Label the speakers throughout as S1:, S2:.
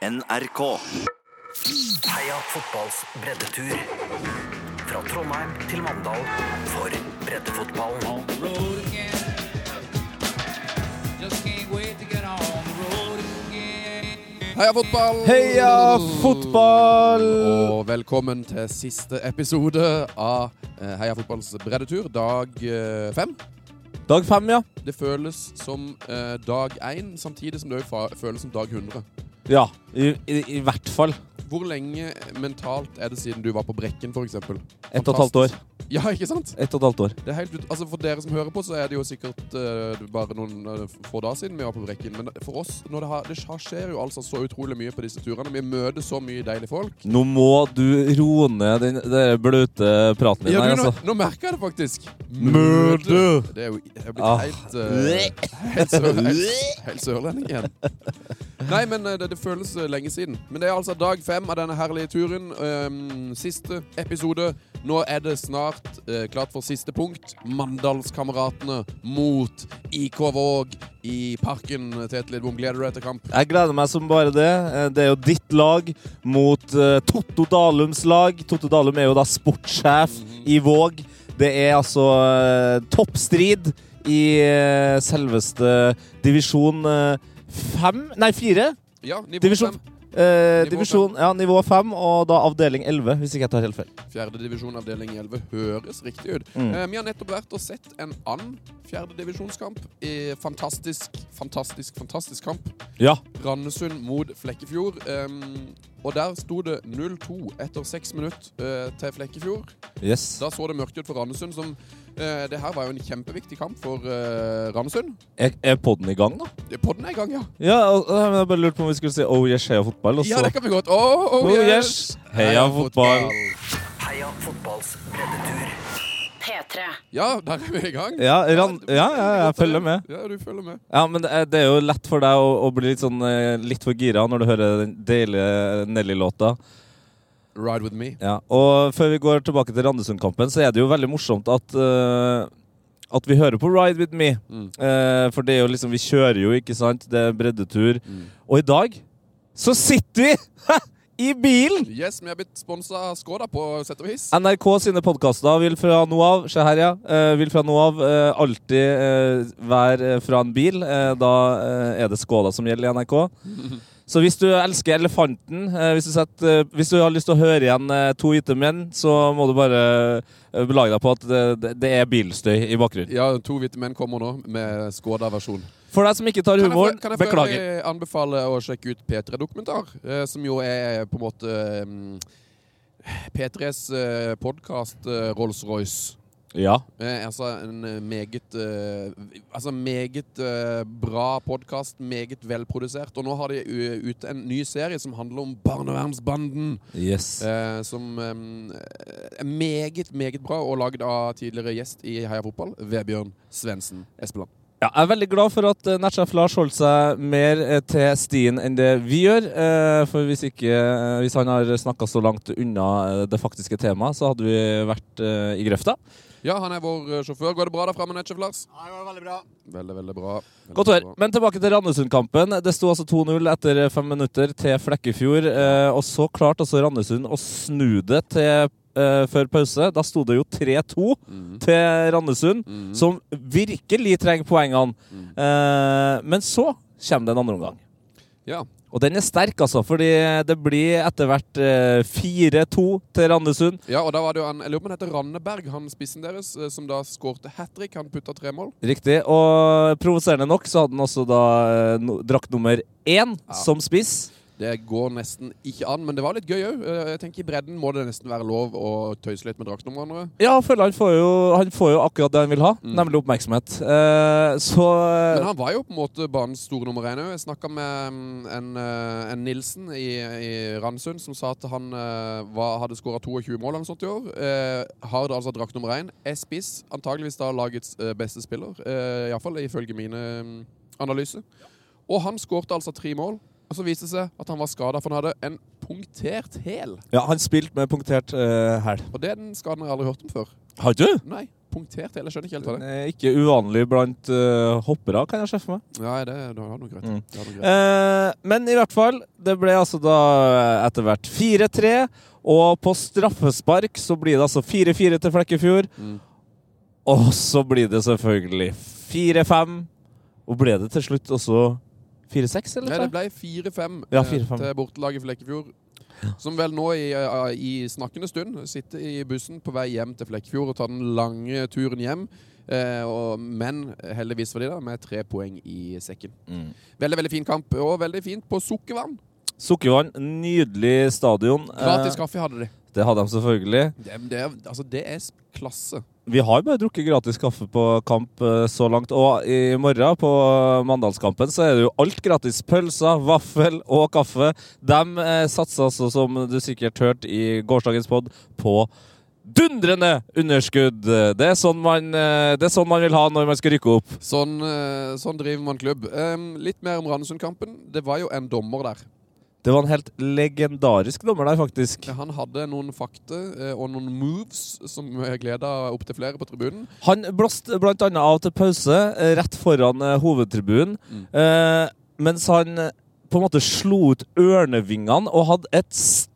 S1: NRK.
S2: Heia fotballs breddetur. Fra Trondheim til Mandal for breddefotballen.
S3: road again. Just can't wait to get on the road again.
S4: Heia fotball!
S5: Heia fotball!
S4: Og velkommen til siste episode av eh, Heia fotballs breddetur, dag eh, fem.
S5: Dag fem, ja.
S4: Det føles som eh, dag én, samtidig som det også fa- føles som dag 100.
S5: Ja, i, i, i hvert fall.
S4: Hvor lenge eh, mentalt er det siden du var på Brekken, f.eks.?
S5: Ett og et halvt år.
S4: Ja, ikke sant?
S5: Ett og et halvt år.
S4: Det er helt ut... Altså, For dere som hører på, så er det jo sikkert eh, bare noen eh, få dager siden vi var på Brekken. Men for oss når det, har, det skjer jo altså så utrolig mye på disse turene. Vi møter så mye deilige folk.
S5: Nå må du roe ned den der bløte praten din
S4: Ja,
S5: her,
S4: du, nå,
S5: altså.
S4: nå merker jeg det faktisk.
S5: Møte.
S4: Det er jo jeg er blitt
S5: Ah.
S4: helt, eh, helt, sør, helt, helt sørlending igjen. Nei, men eh, det, det føles eh, lenge siden. Men det er altså dag fem av denne herlige turen. Ehm, siste episode. Nå er det snart eh, klart for siste punkt. Mandalskameratene mot IK Våg i Parken. Tete Lidbom, gleder du deg til kamp?
S5: Jeg gleder meg som bare det. Eh, Det er jo ditt lag mot eh, Totto Dalums lag. Totto Dalum er jo da sportssjef i Våg. Det er altså eh, toppstrid i eh, selveste divisjon eh, fem Nei, fire.
S4: Ja, nivå
S5: Divisjon-
S4: fem.
S5: Eh,
S4: Nivå
S5: divisjon, ja, nivå fem, og da avdeling elleve, hvis ikke jeg tar helt feil.
S4: Fjerde divisjon avdeling 11 høres riktig ut.
S5: Mm.
S4: Eh, vi har nettopp vært og sett en annen fjerdedivisjonskamp. Fantastisk, fantastisk, fantastisk kamp.
S5: Ja.
S4: Randesund mot Flekkefjord. Ehm, og der sto det 0-2 etter seks minutter eh, til Flekkefjord.
S5: Yes.
S4: Da så det mørkt ut for Randesund, som eh, Det her var jo en kjempeviktig kamp for eh, Randesund.
S5: Er, er podden i gang, da?
S4: Podden er i gang, ja.
S5: Ja, og- og- men jeg bare lurte på om vi skulle si Oh yes, heia fotball, og så
S4: Ja, det kan vi godt. Oh, oh,
S5: Oh yes, heia fotball.
S2: Heia fotballs breddetur.
S6: P3.
S4: Ja, der er vi i gang.
S5: Ja, Ran-
S4: det-
S5: ja, ja, jeg følger med.
S4: Ja, du følger med.
S5: Ja, men det er, det er jo lett for deg å, å bli litt sånn eh, litt for gira når du hører den deilige Nelly-låta.
S4: Ride with me.
S5: Ja, og før vi går tilbake til Randesund-kampen, så er det jo veldig morsomt at eh, at vi hører på Ride With Me.
S4: Mm.
S5: Eh, for det er jo liksom, vi kjører jo, ikke sant? Det er breddetur.
S4: Mm.
S5: Og i dag så sitter vi i bilen!
S4: Yes, vi har blitt sponsa av Skoda på sett og vis.
S5: NRK sine podkaster vil fra nå av se her, ja, eh, vil fra nå av eh, alltid eh, være eh, fra en bil. Eh, da eh, er det Skåla som gjelder i NRK. Så hvis du elsker Elefanten, eh, hvis, du setter, eh, hvis du har lyst til å høre igjen eh, To hvite menn, så må du bare eh, belage deg på at det, det, det er bilstøy i bakgrunnen.
S4: Ja, to hvite menn kommer nå med Skoda-versjon.
S5: For deg som ikke tar
S4: Kan jeg,
S5: humoren,
S4: for- kan jeg for
S5: beklager.
S4: øvrig anbefale å sjekke ut P3-dokumentar, eh, som jo er på en måte mm, P3s eh, podkast eh, Rolls-Royce.
S5: Ja.
S4: Eh, altså en eh, meget eh, Altså meget eh, bra podkast, meget velprodusert. Og nå har de eh, ute en ny serie som handler om Barnevernsbanden.
S5: Yes.
S4: Eh, som eh, er meget, meget bra, og lagd av tidligere gjest i Heia Fotball, Vebjørn Svendsen Espeland.
S5: Ja, jeg er veldig glad for at eh, nettsjef Lars holdt seg mer eh, til stien enn det vi gjør. eh, For hvis, ikke, eh, hvis han har snakka så langt unna eh, det faktiske temaet, så hadde vi vært eh, i grøfta.
S4: Ja, han er vår eh, sjåfør. Går det bra der framme, nettsjef Lars?
S7: Ja, det var veldig bra.
S4: Veldig, veldig bra. Veldig
S5: Godt å høre.
S4: bra.
S5: Men tilbake til Randesund-kampen. Det sto altså 2-0 etter fem minutter til Flekkefjord. eh, Og så klarte altså Randesund å snu det til eh, før pause. Da sto det jo 3-2 til Randesund, som virkelig trenger poengene. Eh, Men så kommer det en andre omgang.
S4: Ja.
S5: Og den er sterk, altså, fordi det blir etter hvert eh, 4-2 til Randesund.
S4: ja, og da var det jo han Jeg lurer på om han heter Randeberg, han spissen deres, eh, som da skårte hat trick. Han putta tre mål.
S5: Riktig. Og provoserende nok så hadde han også da eh, no, drakt nummer én som spiss.
S4: Det går nesten ikke an, men det var litt gøy òg. Jeg tenker I bredden må det nesten være lov å tøyse litt med draktnumrene.
S5: Ja, jeg føler han får jo, han får jo akkurat det han vil ha, nemlig oppmerksomhet. Eh, så
S4: Mm. Men han var jo på en måte banens store nummer én òg. Jeg snakka med mm, en, eh, en Nilsen i, i Randsund som sa at han eh, var, hadde skåra 22 mål eller noe sånt i år. Eh, har da altså drakt nummer én. Er spiss, antageligvis da lagets eh, beste spiller. Eh, Iallfall ifølge mine mm, analyser. Og han skårte altså tre mål. Og så viste det seg at han var skada, for han hadde en punktert hæl.
S5: Ja, han spilte med punktert eh, hæl.
S4: Og det er den skaden jeg aldri har hørt om før.
S5: Har du?
S4: Nei. punktert hele. Jeg skjønner ikke helt hva det er.
S5: Eh, Ikke uvanlig blant eh, hoppere, kan jeg se for meg.
S4: Ja, det, du har noe greit.
S5: Mm.
S4: Du har noe greit.
S5: Eh, men i hvert fall, det ble altså da eh, etter hvert 4-3. Og på straffespark så blir det altså 4-4 til Flekkefjord.
S4: Mm.
S5: Og så blir det selvfølgelig 4-5. Og ble det til slutt også 4-6,
S4: Nei,
S5: eller?
S4: det ble 4-5
S5: Ja,
S4: eh,
S5: 4-5.
S4: til bortelaget Flekkefjord. Som vel nå i, eh, i snakkende stund sitter i bussen på vei hjem til Flekkefjord og tar den lange turen hjem. Eh, og, men heldigvis for de da, med tre poeng i sekken.
S5: Mm.
S4: Veldig veldig fin kamp, og veldig fint på sukkervann.
S5: Sukkervann, nydelig stadion. Eh,
S4: Gratis kaffe hadde de.
S5: det hadde de selvfølgelig.
S4: Det, det, er- altså, det er s- klasse.
S5: Vi har bare drukket gratis kaffe på kamp eh, så langt, og i morgen på eh, Mandalskampen så er det jo alt gratis. Pølser, vaffel og kaffe. De eh, satser altså, som du sikkert hørte i gårsdagens pod, på dundrende underskudd. Det er sånn man, eh, det er sånn man vil ha når man skal rykke opp.
S4: Sånn, eh, sånn driver man klubb. Em, litt mer om Randesund-kampen. Det var jo en dommer der.
S5: Det var en helt legendarisk dommer der, faktisk.
S4: Han hadde noen fakter eh, og noen moves som gleda opptil flere på tribunen.
S5: Han blåste blant annet av til pause eh, rett foran eh, hovedtribunen,
S4: Mm.
S5: eh, mens han eh, på en måte slo ut ørnevingene og hadde et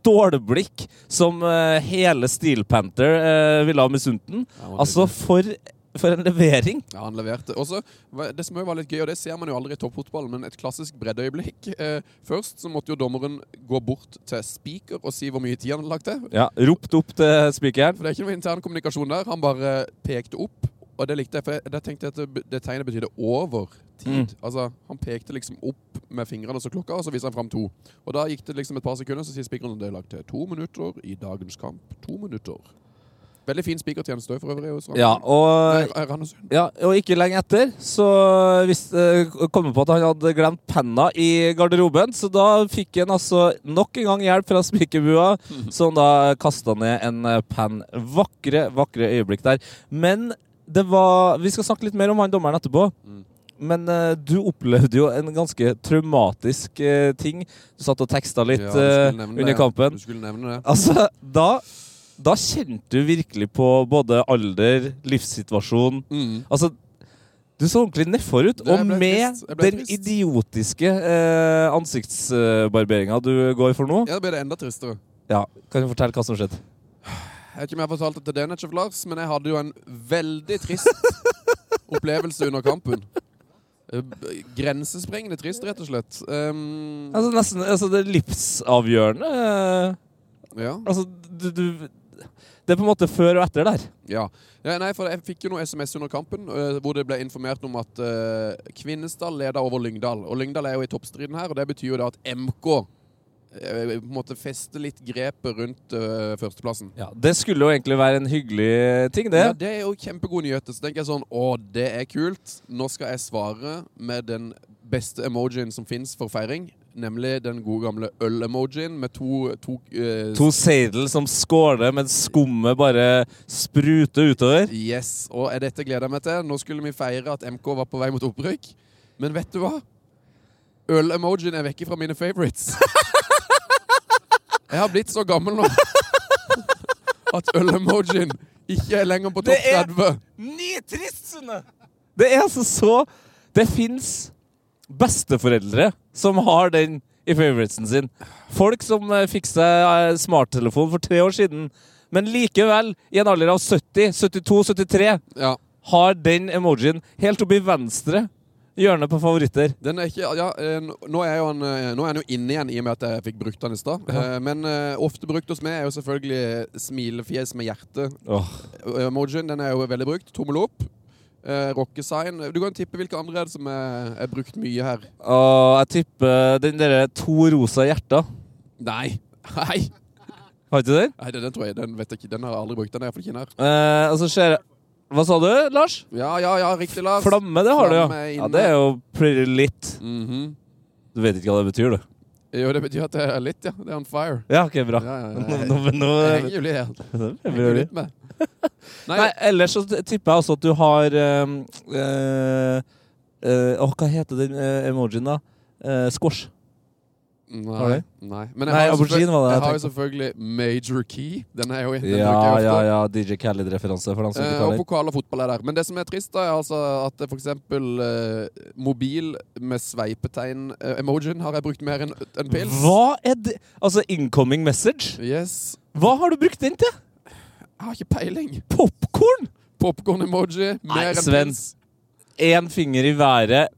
S5: stålblikk som eh, hele Steel Panther eh, ville ha misunt den. Altså, for, for en levering!
S4: Ja, han leverte. Også, hva- det som jo var litt gøy, og det ser man jo aldri i toppfotballen, men et klassisk breddeøyeblikk. Eh, først så måtte jo dommeren gå bort til spiker og si hvor mye tid han hadde lagt til.
S5: Ja, Ropte opp til spikeren.
S4: For det er ikke noe intern kommunikasjon der. Han bare pekte opp, og det likte jeg, for jeg- da tenkte jeg at det, be- det tegnet betydde over tid. Altså, han pekte liksom opp med fingrene så klokka, og så viste han fram to. Og da gikk det liksom et par sekunder, så sier spikeren at det er lagt til to minutter i dagens kamp. To minutter. Veldig fin spikertjeneste også, Eh, for øvrig hos Randesund.
S5: Ja, og
S4: Nei, Randesund.
S5: Ja, og ikke lenge etter så vis- eh, kom jeg på at han hadde glemt penna i garderoben, så da fikk han altså nok en gang hjelp fra spikerbua, som da kasta ned en eh, penn. Vakre, vakre øyeblikk der. Men det var Vi skal snakke litt mer om han dommeren etterpå.
S4: Mm.
S5: Men eh, du opplevde jo en ganske traumatisk eh, ting. Du satt og teksta litt
S4: Ja, du skulle
S5: eh,
S4: nevne
S5: under
S4: det.
S5: kampen.
S4: Du skulle nevne det.
S5: Altså, da, da kjente du virkelig på både alder, livssituasjon
S4: Mm.
S5: Altså, du så ordentlig nedfor ut,
S4: Det- jeg
S5: og
S4: ble
S5: med
S4: trist. Jeg ble
S5: den
S4: trist.
S5: idiotiske eh, ansiktsbarberinga du går for nå.
S4: Ja, da blir det enda tristere.
S5: Ja, Kan du fortelle hva som skjedde?
S4: Jeg vet ikke om jeg har fortalt det til deg, Netchef Lars, men jeg hadde jo en veldig trist opplevelse under kampen. Eh, b- Grensesprengende trist, rett og slett. Um,
S5: Altså, nesten, altså Det er livsavgjørende. eh,
S4: ja.
S5: altså, du, du Det er på en måte før og etter der.
S4: Ja. ja. Nei, for jeg fikk jo noe SMS under kampen eh, hvor det ble informert om at eh, Kvinesdal leder over Lyngdal. Og Lyngdal er jo i toppstriden her, og det betyr jo da at MK eh, på en måte fester litt grepet rundt eh, førsteplassen.
S5: Ja, Det skulle jo egentlig være en hyggelig ting, det.
S4: Ja, det er jo kjempegode nyheter. Så tenker jeg sånn Å, det er kult. Nå skal jeg svare med den beste emojien som fins for feiring. Nemlig den gode gamle øl-emojien med to, to, eh,
S5: To seidel som skåler mens skummet bare spruter utover.
S4: Yes. Og er dette gleder jeg meg til. Nå skulle vi feire at MK var på vei mot opprykk. Men vet du hva? Øl-emojien er vekke fra mine favorites. Jeg har blitt så gammel nå at øl-emojien ikke er lenger på
S5: Det
S4: topp
S5: er-
S4: 30.
S5: Nitrist, Sunne! Det er altså så Det fins besteforeldre som har den i favoritesen sin. Folk som eh, fikk seg eh, smarttelefon for tre år siden, men likevel, i en alder av 70, 72, 73,
S4: Ja.
S5: har den emojien helt oppe i venstre hjørne på favoritter.
S4: Den er ikke, ja, eh, nå, er jo han, eh, nå er han jo inne igjen, i og med at jeg fikk brukt han i stad. Eh, Men eh, ofte brukt hos meg er jo selvfølgelig eh, smilefjes med hjerte-emojien. Den er jo veldig brukt. Tommel opp. Eh, Rockesign. Du kan tippe hvilke andre er det som er, er brukt mye her.
S5: Og jeg tipper den derre to rosa hjerter.
S4: Nei. Nei,
S5: Har ikke du den?
S4: Nei den, den tror jeg den vet jeg ikke. Den har jeg aldri brukt. Den er iallfall ikke den her.
S5: Eh, og så ser jeg Hva sa du, Lars?
S4: Ja, ja, ja, riktig, Lars.
S5: Flamme, det har du,
S4: Flamme
S5: ja.
S4: er
S5: ja.
S4: inne.
S5: Det er jo pretty lit.
S4: Mhm.
S5: Du vet ikke hva det betyr, du?
S4: Jo, det betyr at det er litt, ja. Det er on fire.
S5: Ja, ok, bra.
S4: Ja, ja, ja.
S5: Nå, nå, nå,
S4: Jeg henger jo litt her. Jeg henger jo litt med. Nei,
S5: Nei, ellers så tipper jeg også at du har um, eh, eh, Åh, hva heter den eh, emojien, da? Eh, squash.
S4: Nei.
S5: Har du?
S4: Nei. Men
S5: Nei,
S4: jeg, har jo
S5: aubergine var det
S4: selvfølgelig-
S5: jeg
S4: jeg har jo selvfølgelig Major Key. Den er jo den bruker jeg
S5: Ja,
S4: ofte.
S5: ja, ja. DJ Khaled-referanse for dem som
S4: Eh,
S5: ikke
S4: og
S5: har det.
S4: vokal og fotball er der. Men det som er trist, da, er altså at det for eksempel eh, mobil med sveipetegn-emojien har jeg brukt mer enn en pils.
S5: Hva er det Altså, incoming message?
S4: Yes.
S5: Hva har du brukt den til?
S4: Jeg har ikke peiling.
S5: Popkorn?
S4: Popkorn-emoji,
S5: Nei,
S4: mer enn
S5: Sven.
S4: pils.
S5: Én finger i været.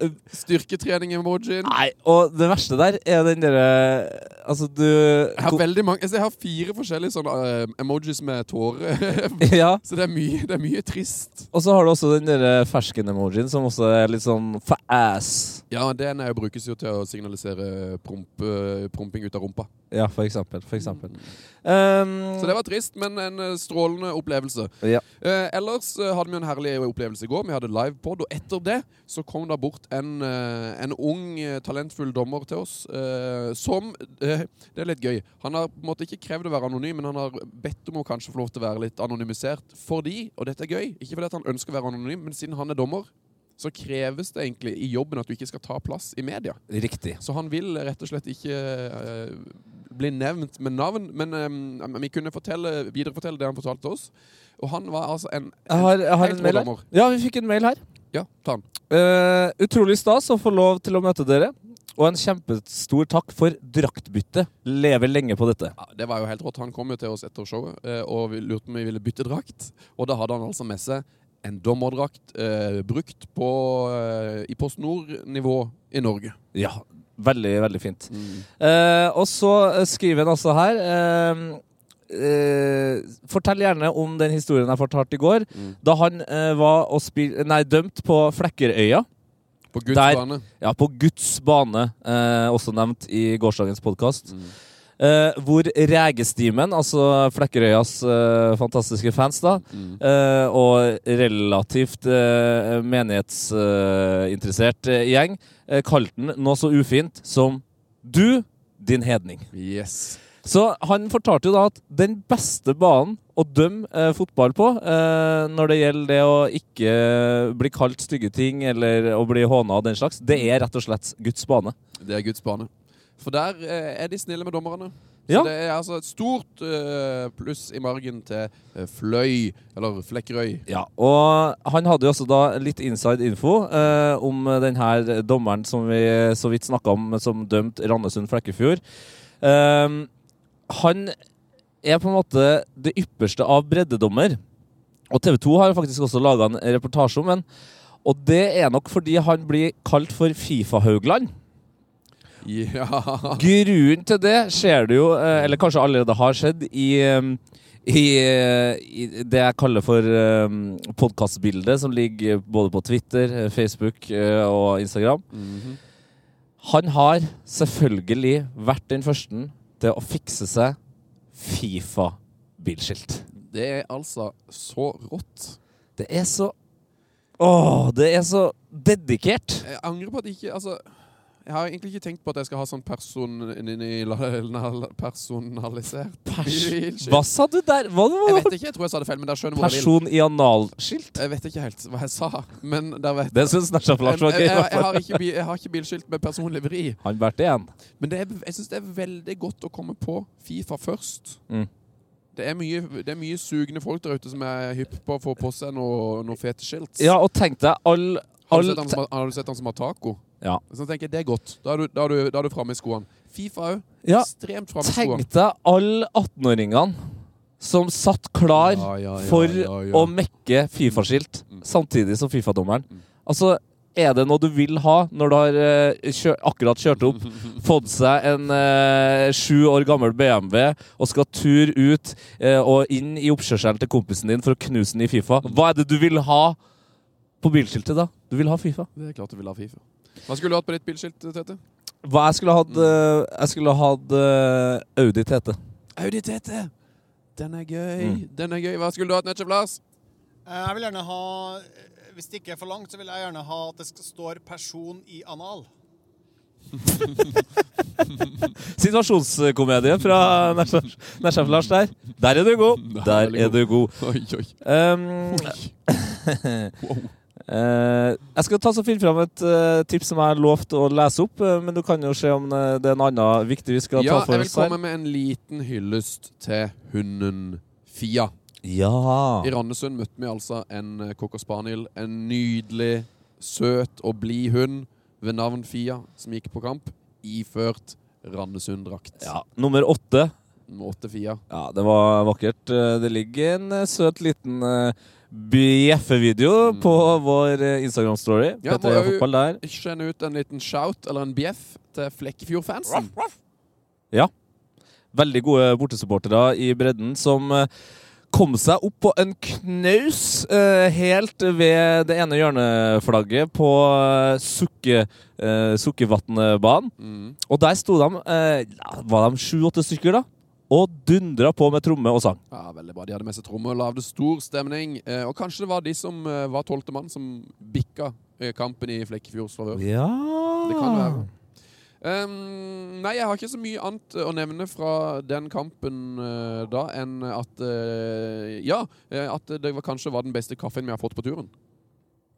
S4: Styrketrening-emojien.
S5: Nei, og det verste der er den derre Altså, du
S4: Jeg har veldig mange altså, Jeg har fire forskjellige sånne eh, emojis med tårer.
S5: Ja.
S4: Så det er mye, det er mye trist.
S5: Og så har du også den derre fersken-emojien, som også er litt sånn for ass.
S4: Ja, den er jo brukes jo til å signalisere promp, eh, promping ut av rumpa.
S5: Ja, for eksempel. For eksempel. Um,
S4: Så det var trist, men en eh, strålende opplevelse.
S5: Ja.
S4: Eh, ellers eh, hadde vi en herlig opplevelse i går. Vi hadde livepod, og etter det så kom det bort en, eh, en ung, eh, talentfull dommer til oss eh, som eh, Det er litt gøy. Han har på en måte ikke krevd å være anonym, men han har bedt om å kanskje få lov til å være litt anonymisert fordi, og dette er gøy, ikke fordi at han ønsker å være anonym, men siden han er dommer, så kreves det egentlig i jobben at du ikke skal ta plass i media.
S5: Riktig.
S4: Så han vil rett og slett ikke eh, bli nevnt med navn, men eh, vi kunne fortelle, viderefortelle det han fortalte oss. Og han var altså en,
S5: Jeg har, jeg har
S4: Helt
S5: en mail her.
S4: rådommer.
S5: Ja, vi fikk en mail her.
S4: Ja, ta han.
S5: Eh, utrolig stas å få lov til å møte dere. Og en kjempestor takk for draktbyttet. Lever lenge på dette.
S4: Ja, det var jo helt rått. Han kom jo til oss etter showet eh, og vi lurte om vi ville bytte drakt. Og da hadde han altså med seg en dommerdrakt eh, brukt på, eh, i Post Nord-nivå i Norge.
S5: Ja, veldig, veldig fint. Eh, og så eh, skriver han altså her eh, eh, Fortell gjerne om den historien jeg fortalte i går, da han eh, var og spil nei, dømt på Flekkerøya.
S4: På Guds
S5: Der.
S4: bane.
S5: Ja, på Guds bane, eh, også nevnt i gårsdagens podkast. Eh, hvor Regestimen, altså Flekkerøyas eh, fantastiske fans, da, eh, og relativt eh, menighetsinteressert eh, gjeng, eh, kalte den noe så ufint som 'Du, din hedning'.
S4: Yes.
S5: Så han fortalte jo da at den beste banen å dømme eh, fotball på, eh, når det gjelder det å ikke bli kalt stygge ting eller å bli håna og den slags, det er rett og slett Guds bane.
S4: Det er Guds bane. For der eh, er de snille med dommerne. Så
S5: Ja.
S4: det er altså et stort eh, pluss i margen til eh, Fløy, eller Flekkerøy.
S5: Ja, og han hadde jo også da litt inside info eh, om den her dommeren som vi så vidt snakka om, som dømt Randesund Flekkefjord. Eh, han er på en måte det ypperste av breddedommer. Og TV 2 har faktisk også laga en reportasje om ham. Og det er nok fordi han blir kalt for Fifa-Haugland.
S4: Ja.
S5: Grunnen til det ser du jo, eh, eller kanskje allerede har skjedd, i, eh, i, eh, i det jeg kaller for eh, podkastbildet, som ligger både på Twitter, eh, Facebook eh, og Instagram.
S4: Mhm.
S5: Han har selvfølgelig vært den første til å fikse seg Fifa-bilskilt.
S4: Det er altså så rått.
S5: Det er så Åh, det er så dedikert!
S4: Jeg angrer på at jeg ikke Altså, jeg har egentlig ikke tenkt på at jeg skal ha sånn personal, personalisert bilskilt.
S5: Hva sa du der? Hva,
S4: Jeg
S5: hva,
S4: vet ikke, jeg tror jeg sa det feil, men dere skjønner hvor jeg vil.
S5: person i analskilt?
S4: Jeg vet ikke helt hva jeg sa, men dere vet
S5: Det syns Nesjaf
S4: jeg,
S5: Lars var
S4: eh, jeg,
S5: gøy. i
S4: jeg,
S5: hvert
S4: jeg,
S5: fall.
S4: har ikke, bi- jeg har ikke bilskilt med personlig vri.
S5: Han bærte igjen.
S4: Men det er, jeg syns det er veldig godt å komme på Fifa først.
S5: Mm.
S4: Det, er mye, det er mye sugne folk der ute som er hypp på å få på seg noe, noe fete skilt.
S5: Ja, og tenk deg all,
S4: Har
S5: all
S4: du sett han som, har- har du sett han som har taco?
S5: Ja.
S4: Så tenker jeg, Det er godt. Da er du, da er du, da er du framme i skoene. Fifa òg.
S5: Ja,
S4: Ekstremt framme i skoene.
S5: Tenk deg alle 18-åringene som satt klar
S4: Ja, ja, ja,
S5: for
S4: ja, ja. Mm,
S5: å mekke Fifa-skilt samtidig som Fifa-dommeren. Altså, er det noe du vil ha når du har eh, kjø akkurat kjørt opp, fått seg en eh, sju år gammel BMW og skal tur ut eh, og inn i oppkjørselen til kompisen din for å knuse den i Fifa? Hva er det du vil ha på bilskiltet da? Du vil ha Fifa.
S4: Det er klart du vil ha Fifa. Hva skulle du hatt på ditt bilskilt, Tete?
S5: Hva jeg skulle hatt eh, Jeg skulle hatt eh, Audi TT.
S4: Audi Tete! Den er gøy.
S5: Mm.
S4: Den er gøy. Hva skulle du hatt, Netchef Lars?
S1: Eh, Jeg vil gjerne ha eh, Hvis det ikke er for langt, så vil jeg gjerne ha at det sk- står 'person i anal'.
S5: Situasjonskomedie fra Nesjef Lars der. Der er du god.
S4: Der er
S5: Der
S4: veldig
S5: er du god.
S4: Oi, oi.
S5: Um,
S4: Wow.
S5: Eh, jeg skal ta så finne fram et eh, tips som jeg har lovt å lese opp, eh, men du kan jo se om eh, det er en annen viktig vi skal
S4: Ja,
S5: ta
S4: jeg
S5: for
S4: vil
S5: oss her.
S4: komme med en liten hyllest til hunden Fia.
S5: Ja.
S4: I Randesund møtte vi altså en eh, cocker spaniel. En nydelig, søt og blid hund ved navn Fia, som gikk på kamp iført Randesund-drakt.
S5: ja. Nummer åtte.
S4: Måte Fia.
S5: Ja, det var vakkert. Eh, Det ligger en eh, søt liten eh, bjeffevideo på vår eh, Instagram-story.
S4: Mm. Ja,
S5: Petter Øya
S4: må jo-
S5: Fotball der.
S4: Skjenn ut en liten shout eller en bjeff til Flekkefjord-fansen.
S5: Veldig gode bortesupportere i bredden som eh, kom seg opp på en knaus eh, helt ved det ene hjørneflagget på eh, Sukke, eh, Sukkevatnbanen.
S4: Mm.
S5: Og der sto de, eh, ja, var de sju-åtte stykker, da, og dundra på med tromme og sang.
S4: Ja, veldig bra. De hadde med seg trommer og lagde stor stemning. Eh, og kanskje det var de som eh, var tolvte mann, som bikka eh, kampen i Flekkefjords favør.
S5: Ja
S4: Det kan
S5: Ah.
S4: være. Ehm, nei, jeg har ikke så mye annet eh, å nevne fra den kampen eh, da enn at eh, Ja, eh, at det var, kanskje var den beste kaffen vi har fått på turen.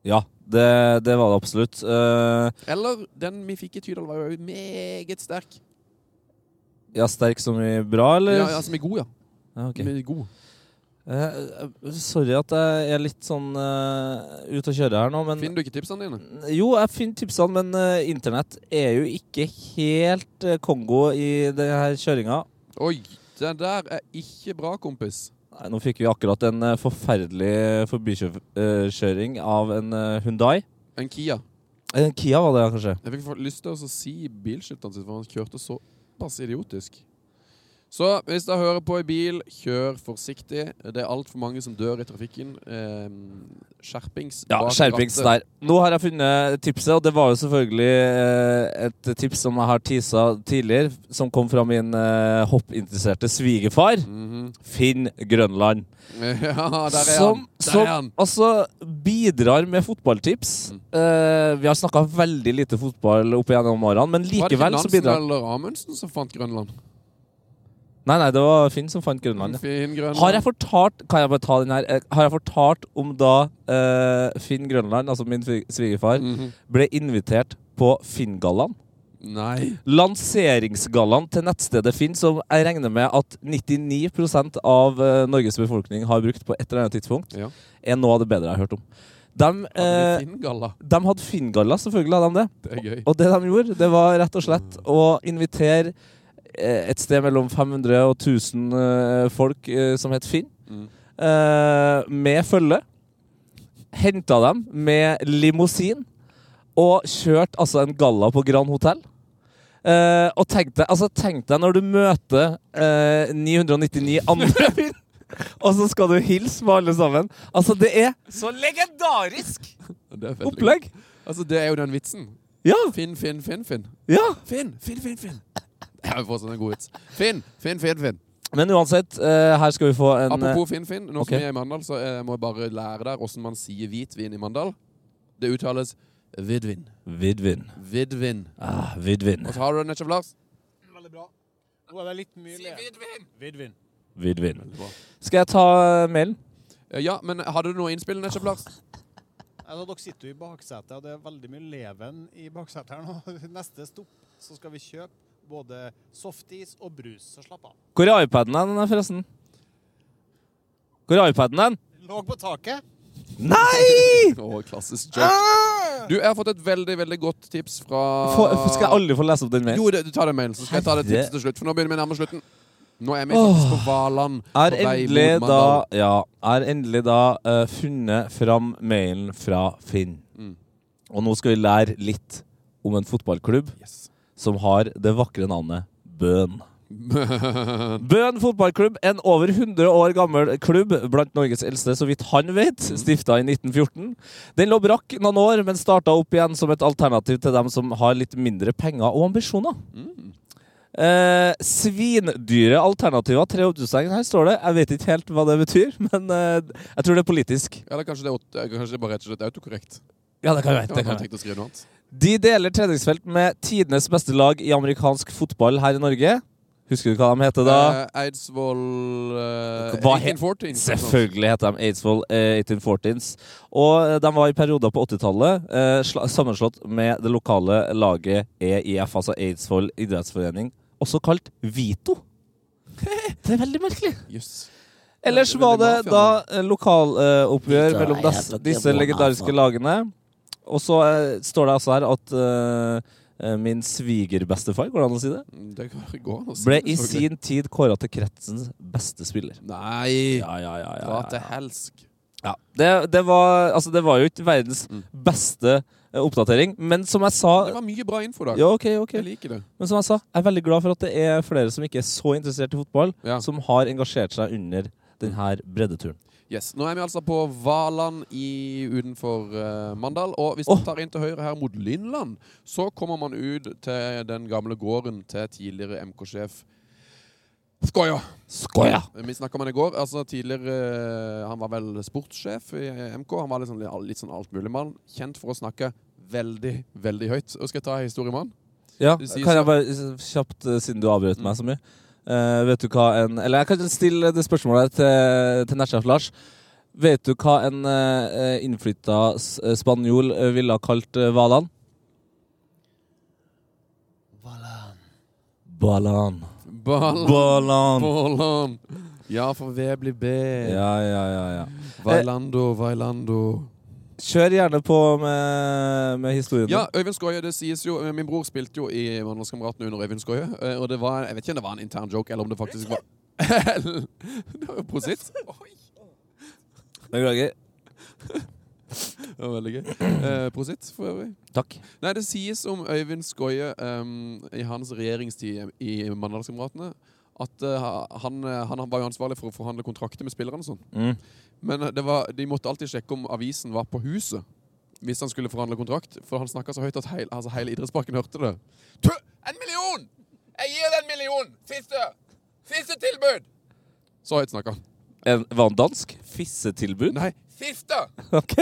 S5: Ja, det, det var det absolutt. Eh,
S4: Eller den vi fikk i Tydal, var jo meget sterk.
S5: Ja, sterk som i bra, eller?
S4: Ja, ja, som er god, ja.
S5: Ja, ok.
S4: Som er god.
S5: Eh, sorry at jeg er litt sånn uh, ute å kjøre her nå, men
S4: Finner du ikke tipsene dine?
S5: Jo, jeg finner tipsene, men eh, internett er jo ikke helt eh, Kongo i denne kjøringa.
S4: Oi, den der er ikke bra, kompis.
S5: Nei, Nå fikk vi akkurat en eh, forferdelig forbikjøring av en eh, Hyundai.
S4: En Kia.
S5: En Kia var det, ja, kanskje.
S4: Jeg fikk fa- lyst til å si bilskiltene sine, for han kjørte såpass idiotisk. Så hvis dere hører på i bil, kjør forsiktig. Det er altfor mange som dør i trafikken. Eh, skjerpings.
S5: Ja,
S4: bak
S5: skjerpings
S4: rattet.
S5: der. Nå har jeg funnet eh, tipset, og det var jo selvfølgelig eh, et tips som jeg har tisa tidligere, som kom fra min eh, hoppinteresserte svigerfar.
S4: Mhm.
S5: Finn Grønland.
S4: Ja, der er han!
S5: Som,
S4: Der
S5: som
S4: er han. Mm.
S5: altså bidrar med fotballtips. Eh, vi har snakka veldig lite fotball opp igjennom årene,
S4: Var
S5: men
S4: det ikke
S5: likevel så
S4: Nansen
S5: bidrar han.
S4: eller Amundsen som fant Grønland?
S5: Nei, nei, det var Finn som fant Grønland. ja.
S4: Finn Grønland.
S5: Har jeg fortalt Kan jeg bare ta den her? Eh, Har jeg fortalt om da eh, Finn Grønland, altså min fi- svigerfar,
S4: Mhm.
S5: ble invitert på Finngallaen?
S4: Nei.
S5: Lanseringsgallaen til nettstedet Finn, som jeg regner med at 99 av eh, Norges befolkning har brukt på et eller annet tidspunkt,
S4: Ja.
S5: er noe av det bedre jeg har hørt om. De,
S4: Hadde
S5: eh,
S4: de Finn-galla?
S5: de hadde Finn-galla, selvfølgelig hadde de det.
S4: Det er gøy.
S5: Og det de gjorde, det var rett og slett å invitere eh, et sted mellom 500 og 1000 eh, folk eh, som het Finn,
S4: Mm.
S5: eh, med følge. Henta dem med limousin og kjørte altså en galla på Grand Hotell. Eh, og tenk deg, altså, tenk deg når du møter eh, 999 andre Finn, og så skal du hilse med alle sammen. Altså, det er så legendarisk
S4: Det er veldig gøy.
S5: opplegg!
S4: Altså, det er jo den vitsen.
S5: Ja,
S4: Finn, Finn, Finn, Finn.
S5: ja.
S4: Finn, Finn, Finn, Finn. Det er jo fortsatt en god vits. Finn, Finn, Finn, Finn.
S5: Men uansett, eh, her skal vi få en eh,
S4: Apropos Finn-Finn, nå
S5: ok.
S4: som vi er i Mandal, så eh, må jeg bare lære der hvordan man sier hvitvin i Mandal. Det uttales vidvin.
S5: Vidvin.
S4: Vidvin.
S5: Ah, vidvin.
S4: Og så har du det, Netchef Lars.
S1: Veldig bra. Nå er det litt mye le. Vidvin.
S5: Vidvin.
S4: bra.
S5: Skal jeg ta eh, mailen?
S4: Eh, Ja, men hadde du noe innspill, Netchef Lars?
S1: Altså, dere sitter jo i baksetet, og det er veldig mye leven i baksetet her nå. Neste stopp så skal vi kjøpe både softis og brus, så slapp av.
S5: Hvor er iPaden hen, forresten? Hvor er iPaden hen?
S1: Lå på taket.
S5: Nei!
S4: Å, klassisk joke. Du, jeg har fått et veldig, veldig godt tips fra
S5: Få- f- skal jeg aldri få lese opp den mailen?
S4: Jo, det, du tar den mailen, så skal jeg ta det
S5: Herre.
S4: tipset til slutt. For nå begynner vi nærmere slutten. Nå er vi faktisk på Valand.
S5: Er
S4: på vei mot
S5: endelig da,
S4: Mandal.
S5: ja, er endelig da eh, funnet fram mailen fra Finn.
S4: Mm.
S5: Og nå skal vi lære litt om en fotballklubb
S4: Yes.
S5: som har det vakre navnet Bøn. Bøn fotballklubb, en over 100 år gammel klubb, blant Norges eldste, så vidt han vet, stifta i 1914. Den lå brakk noen år, men starta opp igjen som et alternativ til dem som har litt mindre penger og ambisjoner. Mm. Eh, svindyre alternativer, tre oppdragstegn. Her står det. Jeg vet ikke helt hva det betyr, men eh, jeg tror det er politisk.
S4: Eller kanskje det, er åt- kanskje det bare rett og slett er autokorrekt.
S5: Ja, det kan jeg
S4: Jeg hadde tenkt å skrive noe annet.
S5: De deler treningsfelt med tidenes beste lag i amerikansk fotball her i Norge. Husker du hva de heter da?
S4: Eh, Eidsvoll eh,
S5: Hva het-
S4: 1814.
S5: Selvfølgelig heter de Eidsvoll eh, 1814s. Og eh, de var i perioder på 80-tallet eh, sla- sammenslått med det lokale laget EIF, altså Eidsvoll idrettsforening, også kalt Vito. Det er veldig merkelig.
S4: Jøss.
S5: Ellers
S4: Veldig,
S5: var det
S4: veldig
S5: da eh,
S4: mafiaen.
S5: lokaloppgjør
S6: Vito er
S5: mellom des,
S6: jævla
S5: disse
S6: demon,
S5: legendariske
S6: altså.
S5: lagene. Og så eh, står det altså her at eh, eh, min svigerbestefar, går det an å si det,
S4: Det går- går an å si.
S5: ble i
S4: selvfølgelig.
S5: sin tid kåra til kretsens beste spiller.
S4: Nei!
S5: Ja, ja, ja.
S4: Dra til helsk.
S5: Ja, det, det, var, altså, det var jo ikke verdens beste eh, oppdatering, men som jeg sa
S4: Det var mye bra info i dag.
S5: ja, ok, ok.
S4: Jeg liker det.
S5: Men som jeg sa, jeg er veldig glad for at det er flere som ikke er så interessert i fotball,
S4: Ja.
S5: som har engasjert seg under denne breddeturen.
S4: Yes. Nå er vi altså på Valand i, utenfor eh, Mandal. Og hvis
S5: Åh.
S4: man tar inn til høyre her mot Lynland, så kommer man ut til den gamle gården til tidligere MK-sjef Skoja.
S5: Skoja!
S4: Vi snakka om han i går. altså tidligere, eh, Han var vel sportssjef i eh, MK. Han var litt sånn, litt sånn altmuligmann. Kjent for å snakke veldig, veldig høyt. Og skal jeg ta en historie med han?
S5: Ja,
S4: Du sier
S5: kan
S4: så-
S5: jeg bare eh, kjapt, eh, siden du avbrøt meg så mye eh, Vet du hva en Eller jeg kan stille det spørsmålet til, til nettsjef Lars. Vet du hva en uh, innflytta s- spanjol eh, ville ha kalt eh, Valand? Balan.
S4: Ballan.
S5: Balan.
S4: Ballan. Ja, for V blir B.
S5: Ja, ja, ja, ja.
S4: Vailando, Vailando.
S5: Kjør gjerne på med, med historien.
S4: Ja, Øyvind Skøye, det sies jo eh, Min bror spilte jo i Mandalskameratene under Øyvind Skøye. eh, Og det var Jeg vet ikke om det var en intern joke, eller om det faktisk var Det var jo Prosit. Oi,
S5: Beklager.
S4: Det var veldig gøy. Eh, Prosit, for øvrig.
S5: Takk.
S4: Nei, det sies om Øyvind Skøye ehm, i hans regjeringstid i Mandalskameratene at eh, han, eh, han var jo ansvarlig for å forhandle kontrakter med spillerne og sånn.
S5: Mm.
S4: Men eh, det var, de måtte alltid sjekke om avisen var på huset hvis han skulle forhandle kontrakt. For han snakka så høyt at heil, altså hele idrettsparken hørte det. Tø, en million! Jeg gir deg en million! Siste! Siste tilbud! Så høyt snakka han.
S5: En, var han dansk? Fissetilbud?
S4: Nei, siste!
S5: Ok.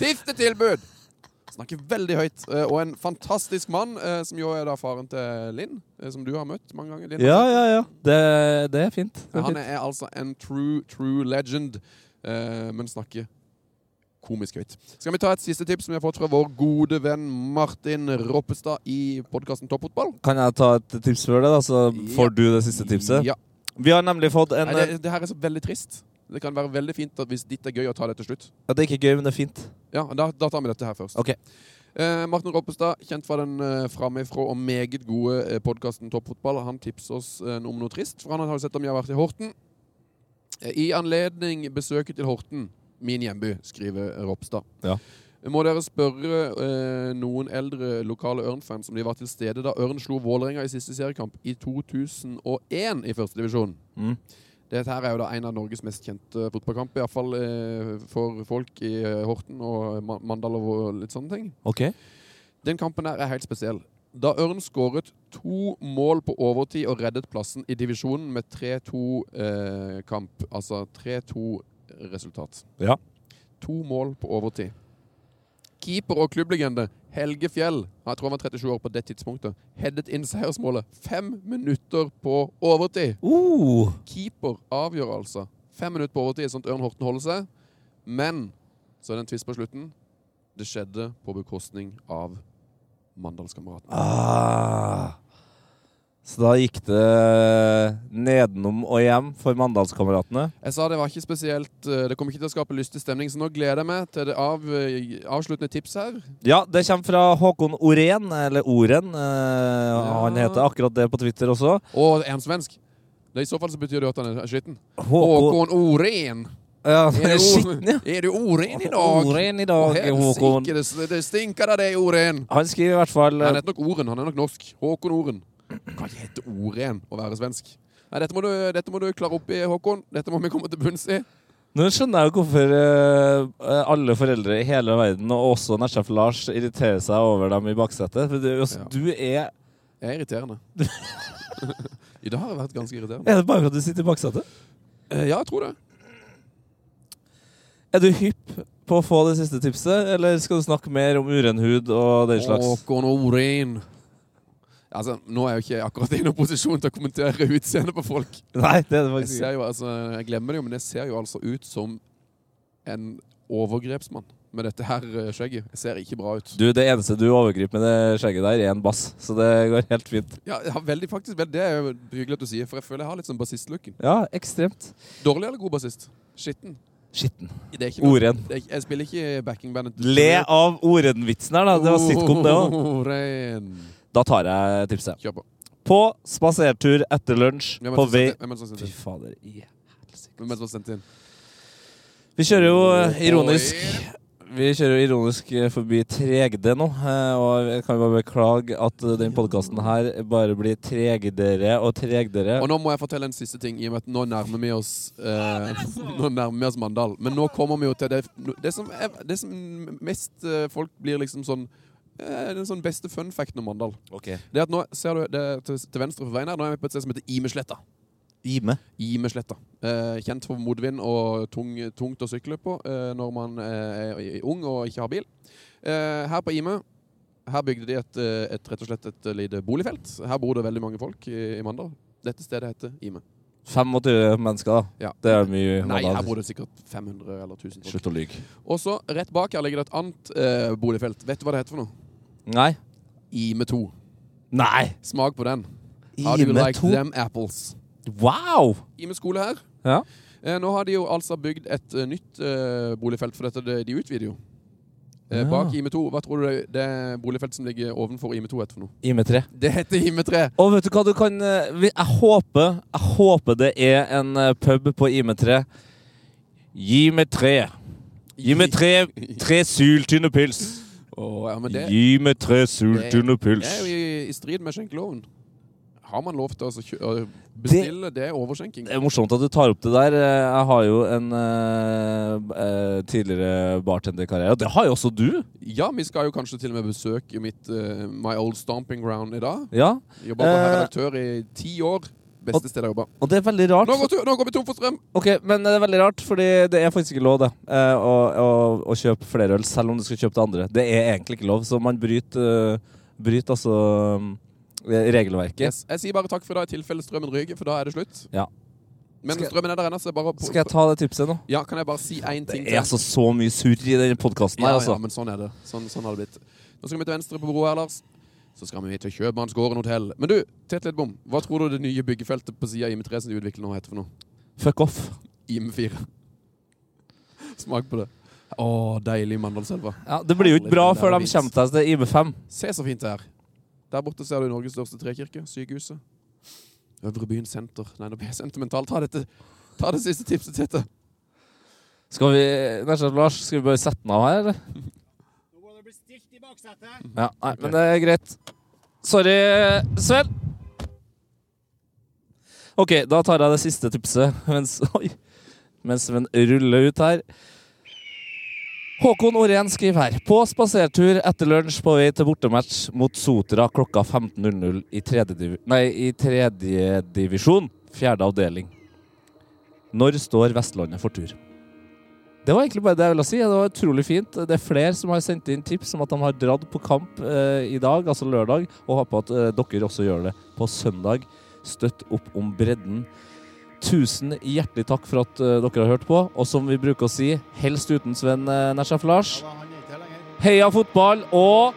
S4: Siste tilbud! Snakker veldig høyt. eh, Og en fantastisk mann, eh, som jo er da faren til Linn, eh, som du har møtt mange ganger. Linn.
S5: Ja, ja, ja. Det, det er fint. Det er
S4: Han
S5: fint.
S4: er altså en true, true legend, eh, men snakker komisk høyt. Skal vi ta et siste tips som vi har fått fra vår gode venn Martin Roppestad i podkasten Toppfotball?
S5: Kan jeg ta et tips før det, da? Så
S4: Ja.
S5: får du det siste tipset.
S4: Ja.
S5: Vi har nemlig fått en
S4: Nei, det, det her er så veldig trist. Det kan være veldig fint at hvis ditt er gøy å ta det til slutt.
S5: ja, Det er ikke gøy, men det er fint.
S4: Ja, da, da tar vi dette her først.
S5: Ok.
S4: Eh, Martin Roppestad, kjent fra den eh, framifrå og meget gode eh, podkasten Toppfotball, han tipser oss eh, om noe trist. For han har jo sett om jeg har vært i Horten. Eh, I anledning besøket til Horten, min hjemby, skriver Ropstad.
S5: Ja.
S4: Må dere spørre eh, noen eldre lokale Ørn-fans om de var til stede da Ørn slo Vålerenga i siste seriekamp i 2001 i førstedivisjon?
S5: Mm.
S4: Dette her er jo da en av Norges mest kjente fotballkamper, iallfall eh, for folk i eh, Horten og Ma- Mandal og litt sånne ting.
S5: Ok.
S4: Den kampen her er helt spesiell. Da Ørn skåret to mål på overtid og reddet plassen i divisjonen med 3-2-kamp, altså 3-2-resultat.
S5: Ja.
S4: To mål på overtid. Keeper og klubblegende Helge Fjell, jeg tror han var 37 år på det tidspunktet, headet inn seiersmålet fem minutter på overtid.
S5: Uh,
S4: Keeper avgjør altså. Fem minutter på overtid, sånn at Ørn Horten holder seg. Men så er det en tvist på slutten. Det skjedde på bekostning av Mandalskameratene.
S5: ah. Så da gikk det nedenom og hjem for Mandalskameratene.
S4: Jeg sa det var ikke spesielt eh, Det kommer ikke til å skape lystig stemning, så nå gleder jeg meg til det av, eh, avsluttende tips her.
S5: Ja, det kommer fra Håkon Oren, eller Oren. Eh, Han heter akkurat det på Twitter også.
S4: Og er han svensk? Det, I så fall så betyr det at han er skitten.
S5: Håkon
S4: Håkon Oren.
S5: ja,
S4: Er du,
S5: Skitten, ja.
S4: er du Oren i dag?
S5: Oren i
S4: Å,
S5: dag,
S4: helsike,
S5: Håkon.
S4: det, det stinker av deg, Oren.
S5: Han skriver i hvert fall
S4: Han heter nok Oren. Han er nok norsk. Håkon Oren. Kan ikke hete Oren å være svensk. Nei, dette må, du, dette må du klare opp i, Håkon. Dette må vi komme til bunns i.
S5: Nå skjønner jeg jo hvorfor eh, alle foreldre i hele verden, og også nettsjef Lars, irriterer seg over dem i baksetet. For det, er jo også-
S4: Ja.
S5: du er
S4: Det er irriterende. I dag har jeg vært ganske irriterende.
S5: Er det bare for at du sitter i baksetet?
S4: Eh, Ja, jeg tror det.
S5: Er du hypp på å få det siste tipset, eller skal du snakke mer om uren hud og den slags?
S4: Håkon Oren. Altså, nå er jeg jo ikke akkurat i noen posisjon til å kommentere utseendet på folk.
S5: Nei, det er det
S4: Jeg,
S5: faktisk ikke.
S4: ser jo, altså, jeg glemmer det jo, men jeg ser jo altså ut som en overgrepsmann med dette her eh, skjegget. Jeg ser ikke bra ut.
S5: Du, det eneste du overgriper med det skjegget der, er en bass. Så det går helt fint.
S4: Ja, ja veldig faktisk. Vel, det er jo hyggelig at du sier, for jeg føler jeg har litt sånn bassistlooken.
S5: Ja, ekstremt.
S4: Dårlig eller god bassist? Skitten.
S5: Skitten.
S4: Det er ikke
S5: Oren.
S4: Det er, ikke- jeg spiller ikke backingbandet.
S5: Le av Oren-vitsen her, da. Det var sitcom, det òg.
S4: Oren.
S5: Da tar jeg tipset.
S4: Kjør på.
S5: På spasertur etter lunsj
S4: Hvem er det
S5: på
S4: som
S5: vei
S4: sendte- Hvem er det som sendte
S5: Fy
S4: inn?
S5: fader. i helsike.
S4: Hvem er det som sendte inn?
S5: Vi kjører jo eh, ironisk Vi kjører jo ironisk eh, forbi Tregde nå, eh, og jeg kan bare beklage at eh, den podkasten her bare blir tregdere og tregdere.
S4: Og nå må jeg fortelle en siste ting, i og med at nå nærmer vi oss eh, Nå nærmer vi oss Mandal. Men nå kommer vi jo til det, det, som, er, det som mest eh, folk blir liksom sånn eh, Den sånn beste fun facten om Mandal.
S5: Ok.
S4: Det er at nå ser du det, er til, til venstre for veien her, nå er vi på et sted som heter Imesletta.
S5: Ime.
S4: Imesletta. Eh, kjent for motvind og tung, tungt å sykle på eh, når man eh, er ung og ikke har bil. Eh, her på Ime her bygde de et, eh, et, rett og slett et lite boligfelt. Her bor det veldig mange folk i, i Mandal. Dette stedet heter Ime.
S5: 25 mennesker, da.
S4: Ja.
S5: Det er mye.
S4: Nei,
S5: Håvard.
S4: her bor det sikkert 500 eller 1000 folk.
S5: Slutt å lyge.
S4: Og så rett bak her ligger det et annet eh, boligfelt. Vet du hva det heter for noe?
S5: Nei.
S4: Ime 2.
S5: Nei!
S4: Smak på den. How do you
S5: Ime
S4: like
S5: 2.
S4: them apples?
S5: Wow!
S4: Ime skole her.
S5: Ja.
S4: Eh, nå har de jo altså bygd et eh, nytt eh, boligfelt, for dette det, de utvider jo. Eh,
S5: Ja.
S4: Bak Ime 2. Hva tror du det, det boligfeltet som ligger ovenfor Ime 2 heter for noe?
S5: Ime 3.
S4: Det heter
S5: E
S4: Ime 3.
S5: Og vet du hva du kan eh, vi- Jeg håper, jeg håper det er en eh, pub på Ime 3. Gi meg tre. Gi meg E tre, tre syltynne pils.
S4: Åh, ja, men det,
S5: Gi meg tre
S4: syltynne
S5: pils.
S4: det er jo i, i strid med skjenkeloven. Har man lov til å altså, kjø- å bestille? Det, er overskjenking.
S5: Det er morsomt at du tar opp det der. Eh, Jeg har jo en eh, b- eh, tidligere bartenderkarriere. Det har jo også du!
S4: Ja, vi skal jo kanskje til og med besøke mitt eh, My Old Stomping Ground i dag.
S5: Ja,
S4: Jobba som
S5: Eh.
S4: redaktør i ti år.
S5: Og-
S4: Beste sted jeg jobba.
S5: Og det er veldig rart.
S4: Nå, går tu- nå går vi tom for strøm!
S5: Ok, men det er veldig rart, fordi det er faktisk ikke lov det, eh, å, å, å kjøpe flere øl, selv om du skal kjøpe det andre. Det er egentlig ikke lov, så man bryter, eh, bryter altså eh, regelverket.
S4: Yes. Jeg sier bare takk for i dag i tilfelle strømmen ryker, for da er det slutt.
S5: Ja.
S4: Men
S5: Skal-
S4: strømmen er der ennå, så jeg bare på,
S5: Skal jeg ta det tipset nå?
S4: Ja, kan jeg bare si én
S5: Det
S4: ting
S5: er altså så mye surr i denne podkasten
S4: ja,
S5: her,
S4: ja,
S5: altså.
S4: men sånn er det. Sånn, sånn har det blitt. Nå skal vi til venstre på broa, Lars. Så skal vi til Kjøpmannsgården hotell. Men du, Tete Lidbom, hva tror du det nye byggefeltet på sida av IM3 som de utvikler nå, heter for noe?
S5: Fuck off.
S4: IM4. Smak på det. Å, deilig Mandalselva.
S5: Ja, det blir jo ikke bra
S4: Herlig,
S5: før de
S4: vits.
S5: kommer seg til IB5.
S4: Se så fint det er. Der borte ser du Norges største trekirke, sykehuset. Øvre byen senter. Nei, nå blir jeg sentimental. Ta dette. Ta det siste tipset, Tete.
S5: Skal vi, Nærseth Lars, skal vi bare sette den av her, eller?
S1: Nå må det bli stilt i baksetet.
S5: Ja, nei, men det er greit. Sorry, Sven. OK, da tar jeg det siste tipset mens, oi, mens Sven ruller ut her. Håkon Orén skriver her. På spasertur etter lunsj på vei til bortematch mot Sotra klokka 15.00 i tredje div- nei, i tredje divisjon, fjerde avdeling. Når står Vestlandet for tur? Det var egentlig bare det jeg ville si. Det var utrolig fint. Det er flere som har sendt inn tips om at de har dratt på kamp eh, i dag, altså lørdag, og håper at eh, dere også gjør det på søndag. Støtt opp om bredden. Tusen hjertelig takk for at eh, dere har hørt på, og som vi bruker å si, helst uten Sven eh, Nesjef Lars.
S1: Ja, da, han er ikke her lenger.
S5: Heia fotball og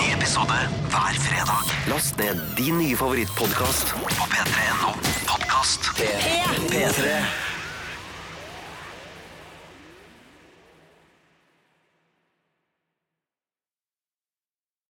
S2: Ny episode hver fredag. Last ned din nye favorittpodkast på p3.no podkast. P3.